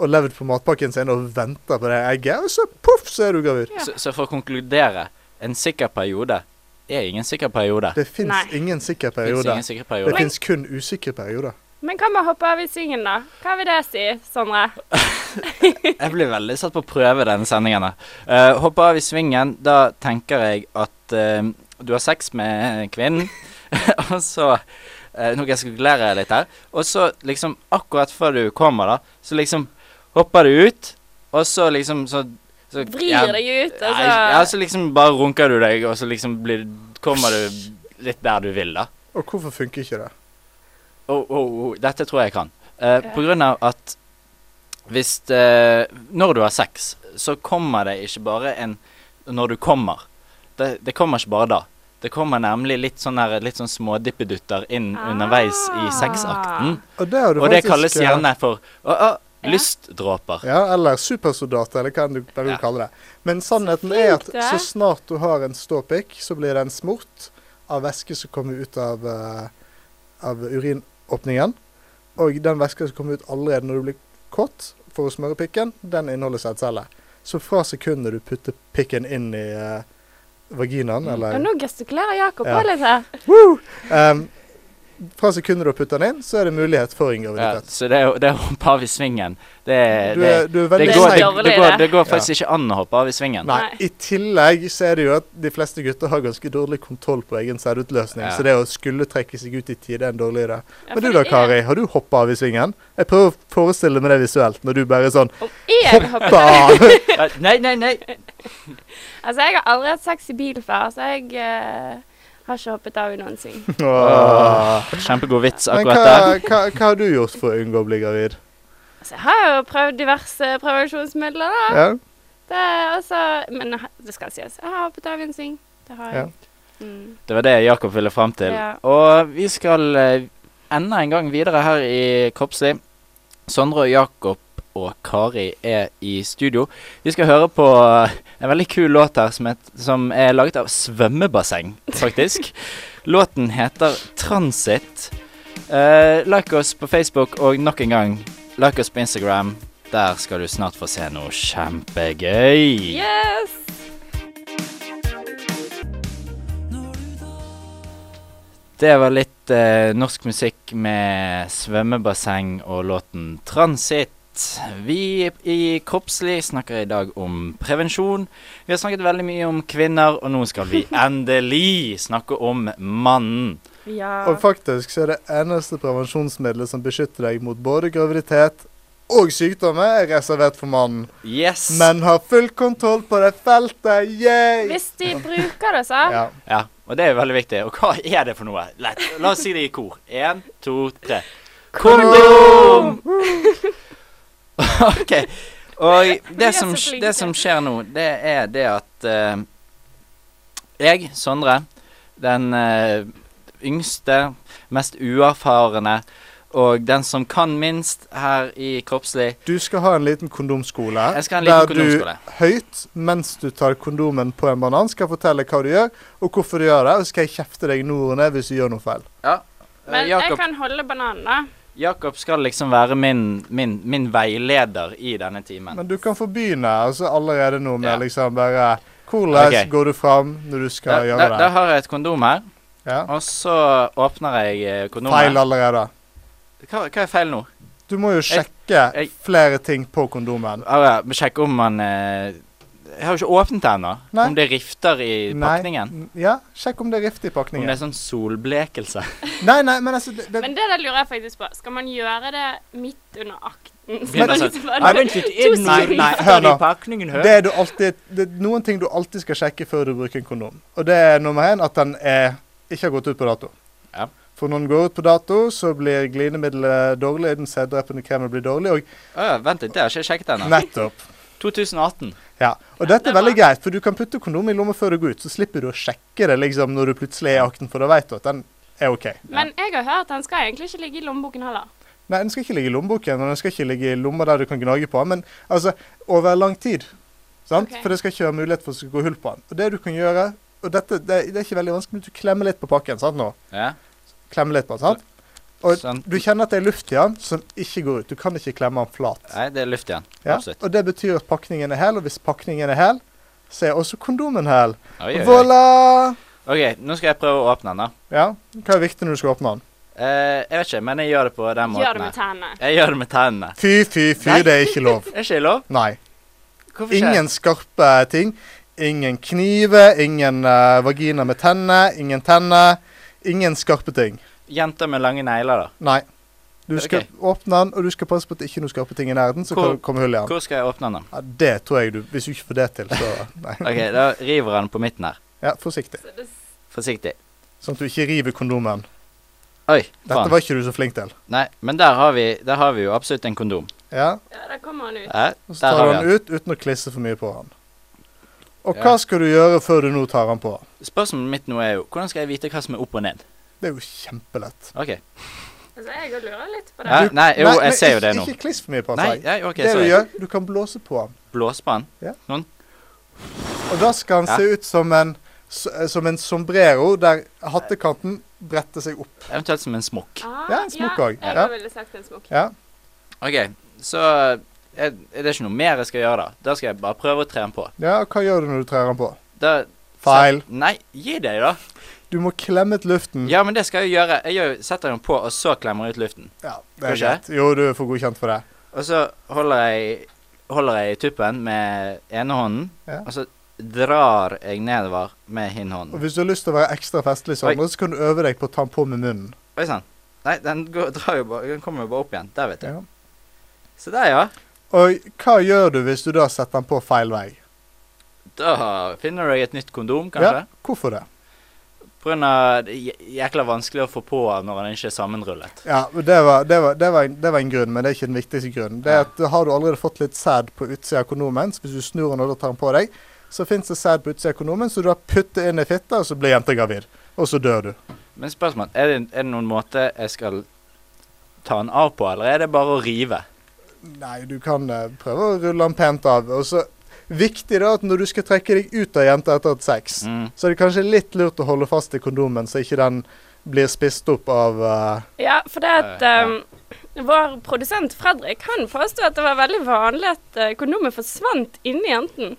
S2: og levd på matpakken sin og venter på det egget, og så poff, så er du gravid.
S1: så, så for å konkludere en sikker periode er ingen sikker periode.
S2: Det fins
S3: Nei.
S2: ingen sikker
S1: Det finnes
S2: periode.
S1: ingen sikker
S2: Det
S1: periode.
S2: fins kun usikre perioder.
S3: Men hva med å hoppe av i svingen, da? Hva vil det si, Sondre?
S1: Jeg blir veldig satt på prøve denne sendingen. her. Eh, hoppe av i svingen, da tenker jeg at eh, du har sex med kvinnen, og så eh, Nå skal jeg skulere litt her. Og så liksom akkurat før du kommer, da, så liksom hopper du ut, og så liksom så, så
S3: Vrir
S1: ja,
S3: deg ut, altså. og
S1: Nei,
S3: så
S1: ja,
S2: altså-
S1: så liksom bare runker du deg, og så liksom blir, kommer du litt der du vil, da.
S2: Og hvorfor funker ikke det?
S1: Oh, oh, oh. Dette tror jeg jeg kan. Eh, på grunn av at hvis eh, Når du har sex, så kommer det ikke bare en Når du kommer. Det, det kommer ikke bare da. Det kommer nemlig litt sånn her, litt sånn smådippedutter inn
S3: Ah.
S1: underveis i sexakten.
S2: Og det, har du
S1: Og det
S2: faktisk,
S1: kalles
S2: eh,
S1: gjerne for å, å,
S3: Ja.
S1: lystdråper.
S2: Ja, eller supersoldater, eller hva enn du hva du
S1: Ja.
S2: kaller det. Men sannheten
S3: flink
S2: er at
S3: du er.
S2: så snart du har en ståpikk, så blir det en smort av væske som kommer ut av, eh, av urinåpningen. Og den væsken som kommer ut allerede når du blir kåt for å smøre pikken, den inneholder sædceller. Så fra sekundet du putter pikken inn i eh, vaginaen,
S1: Mm.
S3: Og
S2: eller
S3: nå gestikulerer Jakob
S2: Ja.
S3: òg litt her.
S2: Woo! Em, Fra sekundet du putter den inn, så er det mulighet for en
S1: Ja,
S2: graviditet.
S1: så det, er jo- det å hoppe av i svingen, det, er-
S2: Du
S1: det,
S2: er, du er
S1: det,
S2: veldig
S1: går,
S2: seig.
S1: det, går, det går faktisk
S2: Ja.
S1: ikke an å hoppe av i svingen.
S2: Nei. I tillegg så er det jo at de fleste gutter har ganske dårlig kontroll på egen sædutløsning,
S1: Ja.
S2: så det å skulle trekke seg ut i tide er en dårlig idé.
S3: Ja,
S2: Men
S3: for
S2: du da,
S3: det er-
S2: Kari, har du hoppa av i svingen? Jeg prøver å forestille meg det visuelt, når du bare er sånn
S3: Om jeg hopper
S2: Hoppa av!
S1: Eh, Nei, nei, nei.
S3: Altså, jeg har aldri hatt sex i bil før, så jeg eh, har ikke hoppet av i noen sving.
S2: Åh.
S1: Kjempegod vits
S2: Men
S1: akkurat
S2: hva,
S1: der.
S2: hva, hva har du gjort for å unngå å bli gravid?
S3: Altså, jeg har jo prøvd diverse prevensjonsmidler, da.
S2: Ja?
S3: Det er altså Men jeg har- det skal sies, jeg har hoppet av i en sving. Det har jeg. Mm.
S1: Det var det Jakob ville fram til.
S3: Ja.
S1: Og vi skal eh, enda en gang videre her i Kroppslig. Sondre og Jakob og Kari er i studio. Vi skal høre på eh, en veldig kul låt her som, het, som er laget av svømmebasseng, faktisk. Låten heter 'Transit'. Eh, like oss på Facebook, og nok en gang, like oss på Instagram. Der skal du snart få se noe kjempegøy.
S3: Yes!
S1: Det var litt eh, norsk musikk med svømmebasseng og låten 'Transit'. Vi i Kroppslig snakker i dag om prevensjon. Vi har snakket veldig mye om kvinner, og nå skal vi endelig snakke om mannen.
S3: Ja.
S2: Og faktisk så er det eneste prevensjonsmiddelet som beskytter deg mot både graviditet og sykdommer, er reservert for mannen.
S1: Yes!
S2: Men har full kontroll på det feltet, yeah!
S3: Hvis de bruker det, så.
S2: Ja.
S1: Ja, og det er veldig viktig. Og hva er det for noe? Lett. La oss si det i kor. Én, to, tre. Kondom! OK. Og
S3: Vi er
S1: det som,
S3: så flinke.
S1: det som skjer nå, det er det at eh, jeg, Sondre, den eh, yngste, mest uerfarne og den som kan minst her i Kroppslig
S2: Du skal ha en liten kondomskole
S1: Jeg skal ha en liten
S2: der
S1: kondomskole.
S2: du høyt mens du tar kondomen på en banan, skal fortelle hva du gjør, og hvorfor du gjør det, og skal jeg kjefte deg i ordene hvis du gjør noe feil.
S1: Eh,
S3: Men jeg
S1: Jakob,
S3: kan holde bananen, da.
S1: Jakob skal liksom være min, min, min veileder i denne timen.
S2: Men du kan få begynne altså allerede nå med
S1: Ja.
S2: liksom bare Hvordan
S1: Ok.
S2: går du fram når du skal
S1: Da, da,
S2: gjøre
S1: da
S2: det?
S1: har jeg et kondom her.
S2: Ja.
S1: Og så åpner jeg eh,
S2: Feil
S1: kondomet.
S2: allerede.
S1: Hva, hva er feil nå?
S2: Du må jo sjekke
S1: jeg-
S2: flere ting på kondomen.
S1: Ah, ja, Sjekk om man eh, Jeg har jo ikke åpnet det ennå.
S2: Nei.
S1: Om det rifter i
S2: Nei.
S1: pakningen.
S2: Ja, sjekk om det er riftig i
S1: Om det
S2: pakningen.
S1: er sånn solblekelse.
S2: Nei, nei, men altså det, det,
S3: Men det der lurer jeg faktisk på. Skal man gjøre det midt under akten?
S1: Blir det
S3: Sånn
S1: sånn-
S3: at man-
S2: Nei,
S1: vent litt.
S3: er det noe
S1: nei, nei,
S2: rifter
S1: hør nå.
S2: i Det er, du alltid, det er noen ting du alltid skal sjekke før du bruker en kondom. Og det er nummer én at den er, ikke har gått ut på dato.
S1: Ja.
S2: For når den går ut på dato, så blir glidemiddelet dårlig, den sæddrepende kremen blir dårlig, og
S1: Å, ja, vent litt, det har ikke jeg sjekket ennå.
S2: nettopp.
S1: 2018.
S2: Ja. Og dette er veldig greit, for du kan putte kondom i lomma før du går ut, så slipper du å sjekke det liksom når du plutselig er i akten, for da vet du at den er OK.
S3: Men jeg har hørt han skal egentlig ikke ligge i lommeboken heller.
S2: Nei, den skal ikke ligge i lommeboken, og den skal ikke ligge i lomma der du kan gnage på den, men altså over lang tid. Sant?
S3: Ok.
S2: For det skal ikke være mulighet for å gå hull på den. Og det du kan gjøre Og dette det, det er ikke veldig vanskelig, men du klemmer litt på pakken. sant nå?
S1: Ja.
S2: Klemme litt på den, sant? Og
S1: Sånn.
S2: du kjenner at det er luft i den som ikke går ut. Du kan ikke klemme den flat.
S1: Nei, det er luft igjen.
S2: Ja?
S1: Absolutt.
S2: Og det betyr at pakningen er hel, og hvis pakningen er hel, så er også kondomen hel.
S1: Oi, oi, oi.
S2: Voilà!
S1: OK, nå skal jeg prøve å åpne den, da.
S2: Ja, hva er viktig når du skal åpne den?
S1: Eh, jeg vet ikke, men jeg gjør det på den
S3: Gjør
S1: måten.
S3: det med
S1: her.
S3: tennene.
S1: Jeg gjør det med tennene.
S2: Fy, fy, fy,
S1: Nei.
S2: det er ikke lov.
S1: Er ikke det lov?
S2: Nei.
S1: Hvorfor ikke?
S2: Ingen skarpe ting. Ingen kniver, ingen eh, vagina med tenner, ingen tenner. Ingen skarpe ting.
S1: Jenter med lange negler, da.
S2: Nei. Du skal
S1: Ok.
S2: åpne den, og du skal passe på at det ikke er noen skarpe ting i nærheten. Så
S1: Hvor-
S2: kan det komme hull i den.
S1: Hvor skal jeg åpne den? da?
S2: Ja, det tror jeg du Hvis du ikke får det til, så Nei.
S1: OK, da river jeg den på midten her.
S2: Ja, forsiktig.
S3: Så det-
S1: Forsiktig.
S2: Sånn at du ikke river kondomen.
S1: Oi,
S2: Dette
S1: faen.
S2: var ikke du så flink til.
S1: Nei, men der har, vi, der har vi jo absolutt en kondom.
S2: Ja,
S3: Ja, der kommer han ut.
S1: Ja,
S2: og Så
S1: der
S2: tar
S1: har
S2: du
S1: vi den.
S2: den ut uten å klisse for mye på den. Og
S1: Ja.
S2: hva skal du gjøre før du nå tar den på?
S1: Spørsmålet mitt nå er jo hvordan skal jeg vite hva som er opp og ned?
S2: Det er jo kjempelett.
S1: OK.
S3: Altså, jeg jo lurer litt på det.
S1: Ja, nei, jo,
S2: men
S1: jeg ser jo
S2: ikke-
S1: det nå.
S2: Ikke kliss for mye på altså. den.
S1: Nei,
S2: sier jeg.
S1: ja, OK,
S2: det du
S1: sorry.
S2: gjør, du kan blåse på den.
S1: Blåspann?
S2: Og da skal han
S1: Ja.
S2: se ut som en, s- eh, som en sombrero der hattekanten bretter seg opp.
S1: Eventuelt som en smokk.
S3: Ah,
S2: Ja, en smokk også.
S3: Ja, jeg
S2: Ja.
S3: ville sagt en smokk.
S2: Ja.
S1: OK, så er, er det ikke noe mer jeg skal gjøre da? Da skal jeg bare prøve å tre den på.
S2: ja, hva gjør du når du trer den på?
S1: Da,
S2: Feil. Mm.
S1: Så, nei, gi deg, da.
S2: Du må klemme ut luften.
S1: Ja, men det skal jeg gjøre. Jeg gjør, setter den på, og så klemmer jeg ut luften.
S2: Ja, det
S1: Skal
S2: er
S1: jeg?
S2: greit. Jo, du får godkjent for det.
S1: Og så holder jeg, holder jeg i tuppen med ene hånden,
S2: Ja.
S1: og så drar jeg nedover med
S2: Og
S1: hinnhånden.
S2: hvis du har lyst til å være ekstra festlig,
S1: Oi.
S2: Sondre, så kan du øve deg på å ta den på med munnen.
S1: Oi sann. Nei, den, går, drar jo bare, den kommer jo bare opp igjen. Der, vet du.
S2: Ja.
S1: Så der, ja.
S2: Og hva gjør du hvis du da setter den på feil vei?
S1: Da finner jeg et nytt kondom, kanskje.
S2: Hvorfor det?
S1: På grunn av det er jæ- jækla vanskelig å få på når den ikke er sammenrullet.
S2: Ja, men det var, det, var, det, var en, det var en grunn, men det er ikke den viktigste grunnen. Det er
S1: Ja.
S2: at Har du allerede fått litt sæd på utsida av kondomen, så hvis du snur den og da tar den på deg, så fins det sæd på utsida av kondomen, så du har puttet inn i fitta, og så blir jenta gravid. Og så dør du.
S1: Men spørsmål, er det, er det noen måte jeg skal ta den av på, eller er det bare å rive?
S2: Nei, du kan eh, prøve å rulle den pent av. Og så Viktig da at når du skal trekke deg ut av jenta etter et sex,
S1: Mm.
S2: så er det kanskje litt lurt å holde fast i kondomen, så ikke den blir spist opp av eh,
S3: Ja, for det at
S1: Ja.
S3: ehm, vår produsent Fredrik han påstod at det var veldig vanlig at eh, kondomet forsvant inni jenten.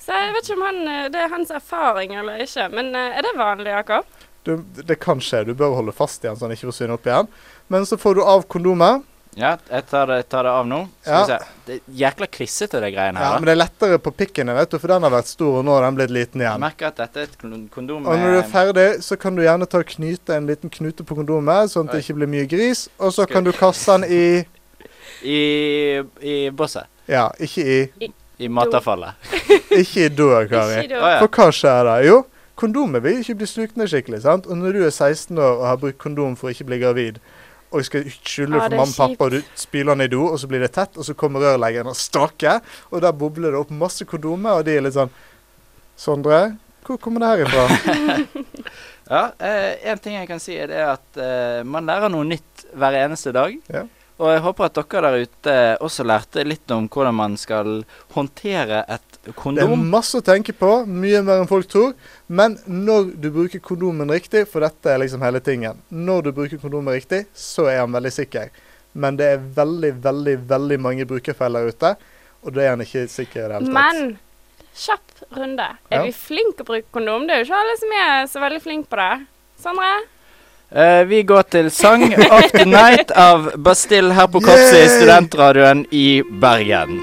S3: Så jeg vet ikke om han, eh, det er hans erfaring eller ikke, men eh, er det vanlig, Jakob?
S2: du, Det kan skje, du bør holde fast i den så den ikke forsvinner opp igjen. Men så får du av kondomet.
S1: Ja, jeg tar det, tar det av nå. Skal vi se. Det er jækla klissete, det greiene
S2: Ja,
S1: her.
S2: men
S1: da.
S2: det er lettere på pikken, vet du, for den har vært stor, og nå har den blitt liten
S1: Jeg
S2: igjen.
S1: merker at dette er et kon- kondom
S2: Og når du er
S1: med
S2: ferdig, så kan du gjerne ta og knyte en liten knute på kondomet, sånn at
S1: Oi.
S2: det ikke blir mye gris, og så
S1: Skal-
S2: kan du kaste den i
S1: i, i bosset.
S2: Ja, ikke i
S1: I matavfallet.
S2: Ikke i døa, Kari.
S3: Ikke du?
S1: Å, ja.
S2: For hva skjer da? Jo, kondomet vil ikke bli slukt ned skikkelig, sant? Og når du er 16 år og har brukt kondom for å ikke bli gravid, og skal skylde
S3: Ja,
S2: for
S3: det er
S2: mamma og
S3: kjipt.
S2: pappa, og du spyler den i do, og så blir det tett, og så kommer rørleggeren og staker, og der bobler det opp masse kondomer, og de er litt sånn Sondre, hvor kommer det her ifra?
S1: Ja, eh, en ting jeg kan si er det at eh, man lærer noe nytt hver eneste dag.
S2: Ja.
S1: Og jeg håper at dere der ute også lærte litt om hvordan man skal håndtere et
S2: Det er
S1: kondom.
S2: masse å tenke på, mye mer enn folk tror, men når du bruker kondomen riktig, for dette er liksom hele tingen Når du bruker kondomen riktig, så er han veldig sikker. Men det er veldig, veldig, veldig mange brukerfeil der ute, og da er han ikke sikker i det hele tatt.
S3: Men kjapp runde. Er
S2: Ja.
S3: vi flinke å bruke kondom? Det er jo ikke alle som er så veldig flinke på det. Sondre?
S1: Eh, vi går til Sang of the Night av Bastille her på Kopset i
S2: Yay!
S1: Studentradioen i Bergen.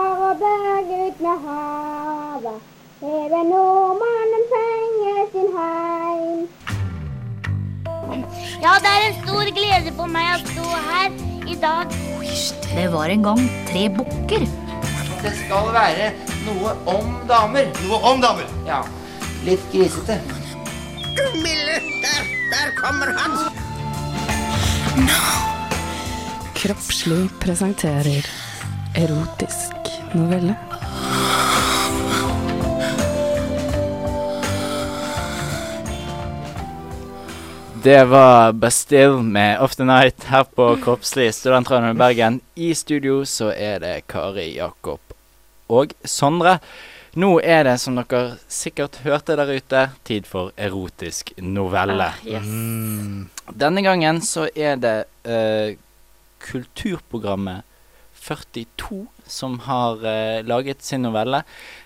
S8: åpne havet. Hele nordmannen trenger sin heim. Ja, det er en stor glede for meg å stå her i dag.
S9: Det var en gang tre bukker.
S10: Det skal være noe om damer. Noe om damer? Ja. Litt grisete. Gummille, der, der kommer han!
S11: Kroppslig presenterer erotisk novelle.
S1: Det var Bastille med Off The Night her på Kroppslig studentradioen i Bergen. I studio så er det Kari, Jakob og Sondre. Nå er det, som dere sikkert hørte der ute, tid for erotisk novelle.
S3: Ah, yes.
S1: Denne gangen så er det eh, kulturprogrammet 42 som har eh, laget sin novelle.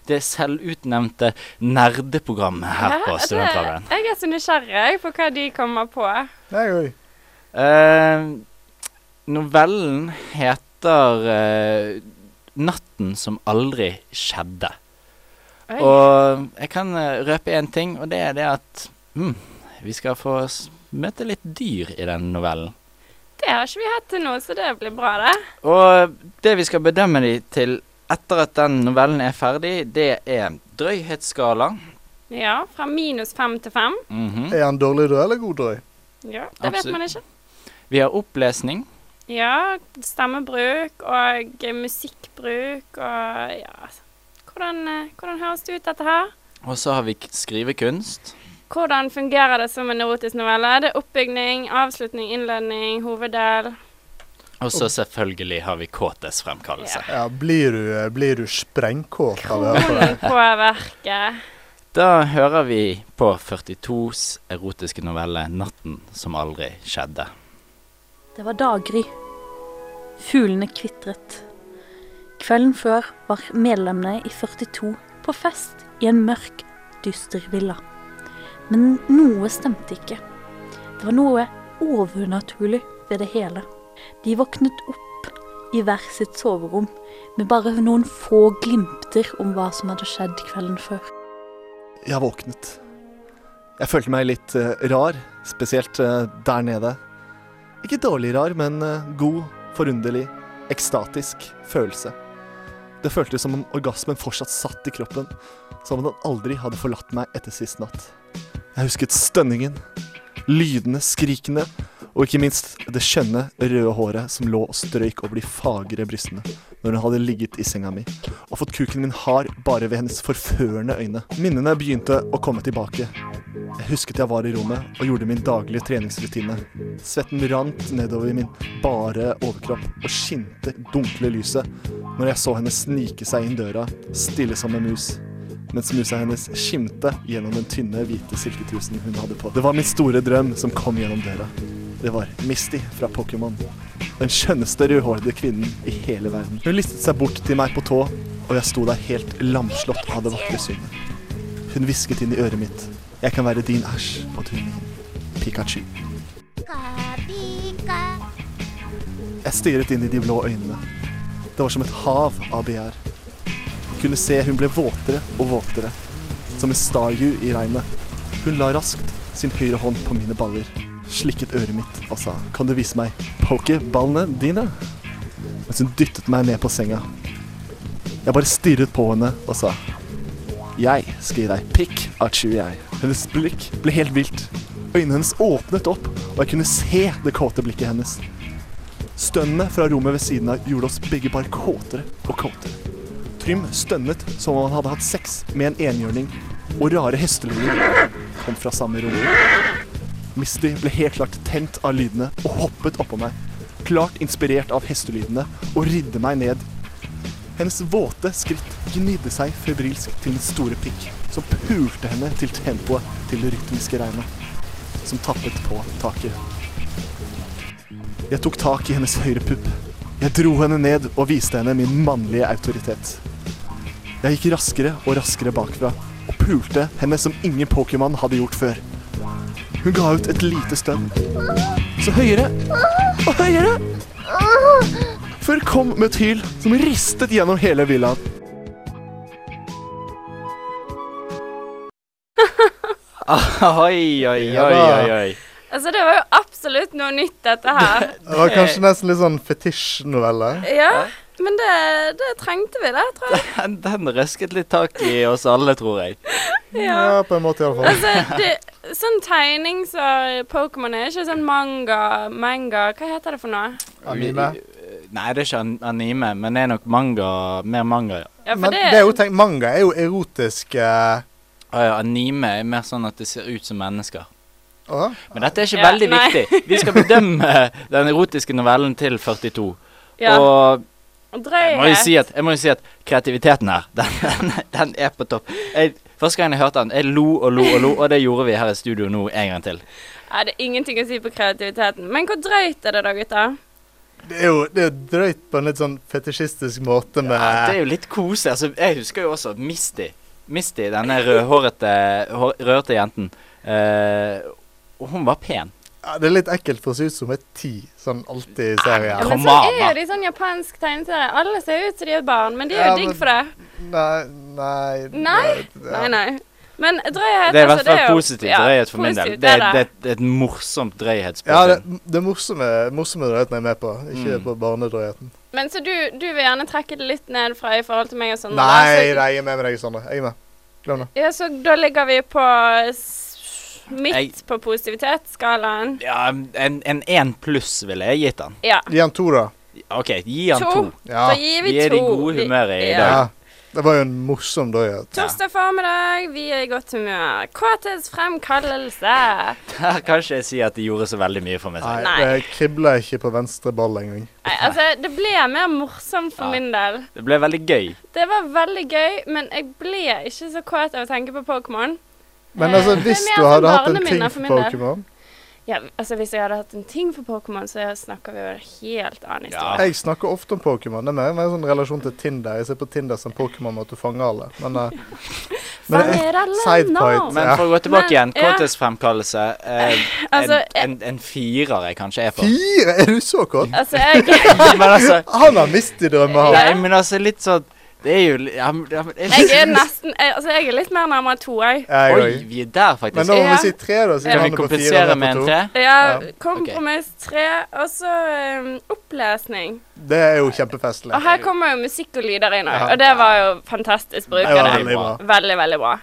S1: Det selvutnevnte nerdeprogrammet her
S3: Ja,
S1: på
S3: det-
S1: studentradioen.
S3: Jeg er så nysgjerrig jeg, på hva de kommer på.
S2: Nei, oi.
S1: Eh, novellen heter eh, 'Natten som aldri skjedde'.
S3: Oi.
S1: Og jeg kan eh, røpe én ting, og det er det at hm, vi skal få s- møte litt dyr i den novellen.
S3: Det har ikke vi hatt til nå, så det blir bra, det.
S1: Og det vi skal bedømme de til etter at den novellen er ferdig, det er drøyhetsskala.
S3: Ja, fra minus fem til fem.
S1: Mhm.
S2: Er han dårlig drøy eller god drøy?
S3: Ja, det vet
S1: Absolutt.
S3: man ikke.
S1: Vi har opplesning.
S3: Ja, stemmebruk og eh, musikkbruk og ja altså, hvordan, eh, hvordan høres det ut, dette her?
S1: Og så har vi k- skrivekunst.
S3: Hvordan fungerer det som en erotisk novelle? Det er oppbygning, avslutning, innledning, hoveddel.
S1: Og så selvfølgelig har vi kåthetsfremkallelse.
S2: Ja, blir du, eh, blir du sprengkåt av å høre på det?
S3: Kronen på verket.
S1: Da hører vi på 42s erotiske novelle 'Natten som aldri skjedde'.
S12: Det var daggry. Fuglene kvitret. Kvelden før var medlemmene i 42 på fest i en mørk, dyster villa. Men noe stemte ikke. Det var noe overnaturlig ved det hele. De våknet opp i hver sitt soverom med bare noen få glimter om hva som hadde skjedd kvelden før.
S13: Jeg våknet. Jeg følte meg litt eh, rar, spesielt eh, der nede. Ikke dårlig rar, men eh, god, forunderlig, ekstatisk følelse. Det føltes som om orgasmen fortsatt satt i kroppen, som om den aldri hadde forlatt meg etter sist natt. Jeg husket stønningen, lydene, skrikene, og ikke minst det skjønne, røde håret som lå og strøyk over de fagre brystene når hun hadde ligget i senga mi og fått kuken min hard bare ved hennes forførende øyne. Minnene begynte å komme tilbake. Jeg husket jeg var i rommet og gjorde min daglige treningsrutine. Svetten rant nedover i min bare overkropp og skinte dunkle lyset når jeg så henne snike seg inn døra, stille som en mus. Mens musa hennes skimte gjennom den tynne, hvite silketrusen hun hadde på. Det var min store drøm som kom gjennom døra. Det var Misty fra Pokémon. Den skjønneste rødhårede kvinnen i hele verden. Hun listet seg bort til meg på tå, og jeg sto der helt lamslått av det vakre synet. Hun hvisket inn i øret mitt. Jeg kan være din æsj, og du min. Pikachu. Jeg stirret inn i de blå øynene. Det var som et hav av begjær. Jeg kunne se hun ble våtere og våtere, som en starju i regnet. Hun la raskt sin høyre hånd på mine baller, slikket øret mitt og sa Kan du vise meg pokeballene dine? Mens hun dyttet meg ned på senga. Jeg bare stirret på henne og sa Jeg skal gi deg pikk av Chewie, jeg. Hennes blikk ble helt vilt. Øynene hennes åpnet opp, og jeg kunne se det kåte blikket hennes. Stønnene fra rommet ved siden av gjorde oss begge bare kåtere og kåtere. Trym stønnet som om han hadde hatt sex med en enhjørning, og rare hestelyder kom fra samme rom. Misty ble helt klart tent av lydene og hoppet oppå meg, klart inspirert av hestelydene, og ridde meg ned. Hennes våte skritt gnidde seg febrilsk til den store pikk, som pulte henne til tempoet til det rytmiske regnet, som tappet på taket. Jeg tok tak i hennes høyre pupp. Jeg dro henne ned og viste henne min mannlige autoritet. Jeg gikk raskere og raskere bakfra og pulte henne som ingen Pokémon hadde gjort før. Hun ga ut et lite stønn. Så høyere og høyere. Før kom med et hyl som ristet gjennom hele villaen.
S1: Oi, oi, oi, oi, oi.
S3: Altså, det var jo absolutt noe nytt, dette her.
S2: Det var kanskje nesten litt sånn fetisj-novelle.
S3: Ja, men det, det trengte vi, det, tror jeg.
S1: Den, den røsket litt tak i oss alle, tror jeg.
S2: Ja, på en måte iallfall.
S3: Altså, det, sånn tegning som Pokémon er ikke sånn manga, manga Hva heter det for noe?
S2: Anime.
S1: Nei, det er ikke an- anime, men det er nok manga. Mer manga, ja.
S3: Ja, for
S2: Men
S3: det-
S2: det er jo tenkt, manga er jo erotisk eh,
S1: Å Ah, ja, anime er mer sånn at det ser ut som mennesker.
S2: Åh.
S1: Men dette er ikke
S3: Ja,
S1: veldig
S3: nei.
S1: viktig. Vi skal bedømme den erotiske novellen til 42.
S3: Ja.
S1: Og jeg må, jo
S3: Drøyhet.
S1: si at, jeg må jo si at kreativiteten her, den, den, den er på topp. Jeg, første gang jeg hørte den, jeg lo og lo og lo, og det gjorde vi her i studio nå en gang til.
S3: Nei, det er ingenting å si på kreativiteten. Men hvor drøyt er det da, gutter?
S2: Det er jo det er jo drøyt på en litt sånn fetisjistisk måte med
S1: Det er jo litt koselig. Altså, jeg husker jo også Misty. Misty, denne rødhårete hår- rødhårete jenten. Eh, og hun var pen.
S2: Ja, det er litt ekkelt for å se ut som et ti, sånn alltid i serien.
S3: Ja, men sånn er jo de sånn japansk tegneserie. Alle ser ut som de er barn, men de er jo
S2: Ja,
S3: digg
S2: men-
S3: for det.
S2: Nei, nei
S3: Nei? Nei, nei. Men drøyhet,
S1: Det er i hvert
S3: altså,
S1: fall
S3: jo-
S1: positiv
S3: ja,
S1: drøyhet for min del.
S3: positivt,
S1: Det er,
S3: det.
S1: det er et morsomt drøyhetsspill.
S2: Ja, det, det er morsomme, morsomme drøyheten jeg er med på, ikke
S1: Mm.
S2: på barnedrøyheten.
S3: Men så du, du vil gjerne trekke det litt ned fra i forhold til meg og sånn?
S2: Nei,
S3: da,
S2: nei, jeg er med med deg, Sondre. Jeg er med. Glem det.
S3: så, ja, så da ligger vi på s- midt på positivitetsskalaen.
S1: Ja, en en én pluss ville jeg gitt han.
S3: Ja.
S2: Gi han to, da.
S1: OK, gi han
S3: To.
S1: to.
S2: Ja.
S3: Da gir vi
S1: Vi er i
S3: to.
S1: gode
S3: Vi-
S1: humøret i
S3: ja.
S1: dag.
S2: Det var jo en morsom drøyhet.
S3: Torsdag formiddag, vi er i godt humør. KTs fremkallelse.
S1: Her kan ikke jeg si at de gjorde så veldig mye for meg. selv.
S2: Nei, det kribler ikke på venstre ball engang.
S3: Nei, altså, det ble mer morsomt for min del.
S1: Det ble veldig gøy.
S3: Det var veldig gøy, men jeg ble ikke så kåt av å tenke på Pokémon.
S2: Men
S3: Eh,
S2: altså,
S3: det er
S2: hvis
S3: mer
S2: du
S3: sånn
S2: hadde hatt en ting
S3: barneminner for
S2: for
S3: min del.
S2: Pokémon
S3: Ja, altså Hvis jeg hadde hatt en ting for Pokémon, så snakker vi jo en helt annen
S1: Ah.
S3: historie.
S2: Jeg snakker ofte om Pokémon. Det er mer en sånn relasjon til Tinder. Jeg ser på Tinder som Pokémon måtte fange alle. Men, eh, men det er
S3: Fange alle
S2: side
S3: nå.
S2: point,
S1: Men
S2: ja.
S1: for å gå tilbake igjen,
S3: Men, ja.
S1: KTs fremkallelse eh,
S3: Altså,
S1: en, en, en firer jeg kanskje er på.
S2: Fire? Er du så kåt?
S3: Altså, jeg
S1: Men altså
S2: Han har mistet drømmer, han.
S1: Nei, men altså, litt sånn Det er jo li- ja, men- ja, men-
S3: Jeg er nesten jeg, Altså, jeg er litt mer nærmere to, jeg.
S2: Jeg
S1: Oi,
S2: òg.
S1: vi er der, faktisk.
S2: Men nå må
S3: Ja.
S2: vi si tre, da. Siden
S1: Kan vi
S2: han er på fire,
S1: kompensere
S2: han er på
S1: med en
S2: to.
S1: tre?
S3: Ja,
S2: Ja.
S3: kompromiss tre, og så um, opplesning.
S2: Det er jo kjempefestlig.
S3: Og her kommer jo musikk og lyder inn òg,
S2: Ja.
S3: og det var jo fantastisk
S2: Det
S3: brukende.
S2: var veldig bra.
S3: Veldig, veldig bra.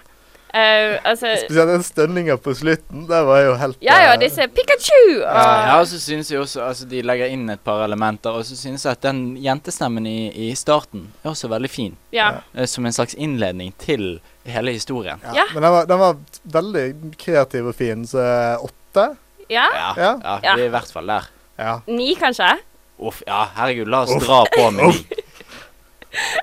S3: Eh, altså
S2: Spesielt den stønninga på slutten. Det var jo helt eh,
S3: Ja, ja, disse Pikachu! Og,
S1: Ja, og så synes jeg også Altså, de legger inn et par elementer, og så synes jeg at den jentestemmen i, i starten er også veldig fin.
S3: Ja.
S1: Eh, Som en slags innledning til hele historien.
S2: Ja, Men den var, den var veldig kreativ og fin, så eh, åtte?
S3: ja.
S1: Ja, ja,
S3: Ja.
S1: vi er i hvert fall der.
S2: Ja.
S3: Ni, kanskje?
S1: Uff, ja, herregud, la oss dra på med de.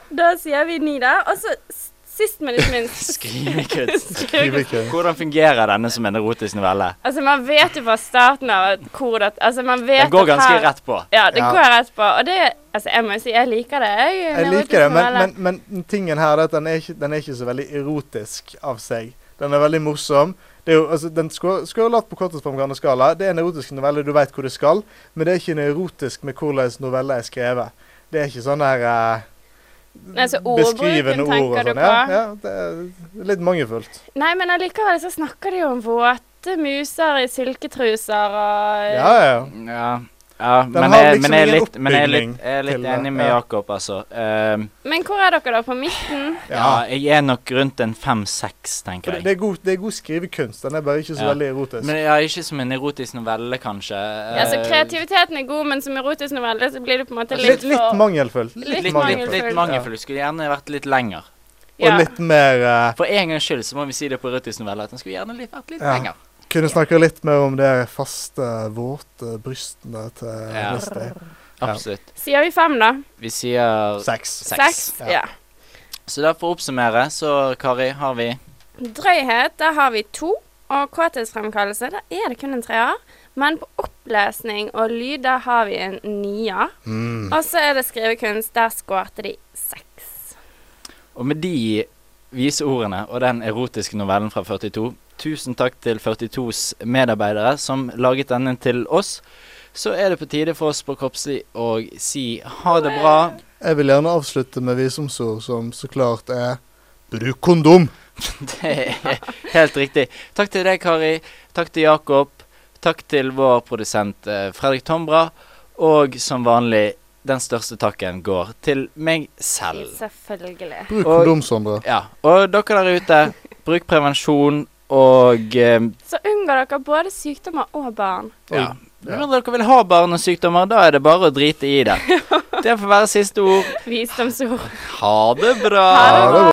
S3: Da sier vi ni der. Og så s- sist, men ikke minst
S1: Skrivekunst.
S3: Skrivekunst.
S1: Hvordan fungerer denne som en erotisk novelle?
S3: Altså, man vet jo fra starten av at hvor det Altså, man vet
S1: Den går
S3: at
S1: ganske
S3: her-
S1: rett på.
S3: Ja, det
S2: Ja.
S3: går rett på. Og det Altså, jeg må jo si jeg liker det. Jeg,
S2: Jeg
S3: når
S2: liker det,
S3: rotisk novelle.
S2: men, men, men tingen her er at den er, ikke, den er ikke så veldig erotisk av seg. Den er veldig morsom. Det er jo, altså, den skå- skårer lavt på korttidsframgående skala. Det er en erotisk novelle, du veit hvor det skal, men det er ikke en erotisk med hvordan novella er skrevet. Det er ikke sånn der eh,
S3: Nei, så ordbruken
S2: beskrivende ord og
S3: tenker du
S2: sånn.
S3: på?
S2: Ja, ja, det er litt mangelfullt.
S3: Nei, men allikevel så snakker de jo om våte muser i silketruser og
S2: Ja, ja. ja.
S1: Ja, ja
S2: Den
S1: men,
S2: har
S1: jeg,
S2: liksom
S1: men, jeg er
S2: ingen
S1: litt, men jeg er
S2: oppbygning
S1: litt, jeg er
S2: til
S1: litt
S2: det,
S1: enig med
S2: ja.
S1: Jakob, altså. Ehm,
S3: Men hvor er dere da? På midten?
S2: Eh.
S1: ja, jeg er nok rundt en fem-seks,
S2: For
S1: tenker
S2: det,
S1: jeg.
S2: det, er god, det er god skrivekunst. Den er bare ikke så
S1: Ja.
S2: veldig erotisk.
S1: Men ja, ikke som en erotisk novelle, kanskje.
S3: Ja, så
S1: Eh,
S3: Altså, kreativiteten er god, men som erotisk novelle så blir det på en måte litt
S2: litt,
S3: for
S2: litt mangelfull.
S3: Litt
S1: litt, litt,
S3: mangelfull.
S1: litt mangelfull. Skulle gjerne vært litt lenger.
S2: Og
S3: Ja.
S2: litt mer eh,
S1: For en gangs skyld så må vi si det på erotisk novelle, at den skulle gjerne litt, vært litt
S2: Ja.
S1: lenger.
S2: Kunne snakke litt mer om det faste, våte brystene til
S1: Ja.
S2: Misty.
S1: Absolutt.
S3: Sier vi fem, da?
S1: Vi sier
S2: Seks.
S3: Seks? Ja.
S1: Så da for å oppsummere, så Kari, har vi
S3: Drøyhet, der har vi to. Og kåthetsfremkallelse, der er det kun en treer. Men på opplesning og lyd, der har vi en nier.
S1: Mm.
S3: Og så er det skrivekunst, der skårte de seks.
S1: Og med de vise ordene og den erotiske novellen fra 42, tusen takk til 42s medarbeidere som laget denne til oss. Så er det på tide for oss på Kroppslig å si ha det bra.
S2: Jeg vil gjerne avslutte med visumsord som så klart er Bruk kondom!
S1: Det er helt riktig. Takk til deg, Kari. Takk til Jakob. Takk til vår produsent eh, Fredrik Tombra. Og som vanlig, den største takken går til meg selv.
S3: Selvfølgelig.
S2: Bruk kondom, Sondre.
S1: Ja. Og dere der ute, bruk prevensjon og eh,
S3: Så unngår dere både sykdommer og barn.
S1: ja. Når dere vil ha barn og sykdommer, da er det bare å drite i det. Det får være siste ord.
S3: Visdomsord.
S1: Ha det bra.
S3: Ha det bra.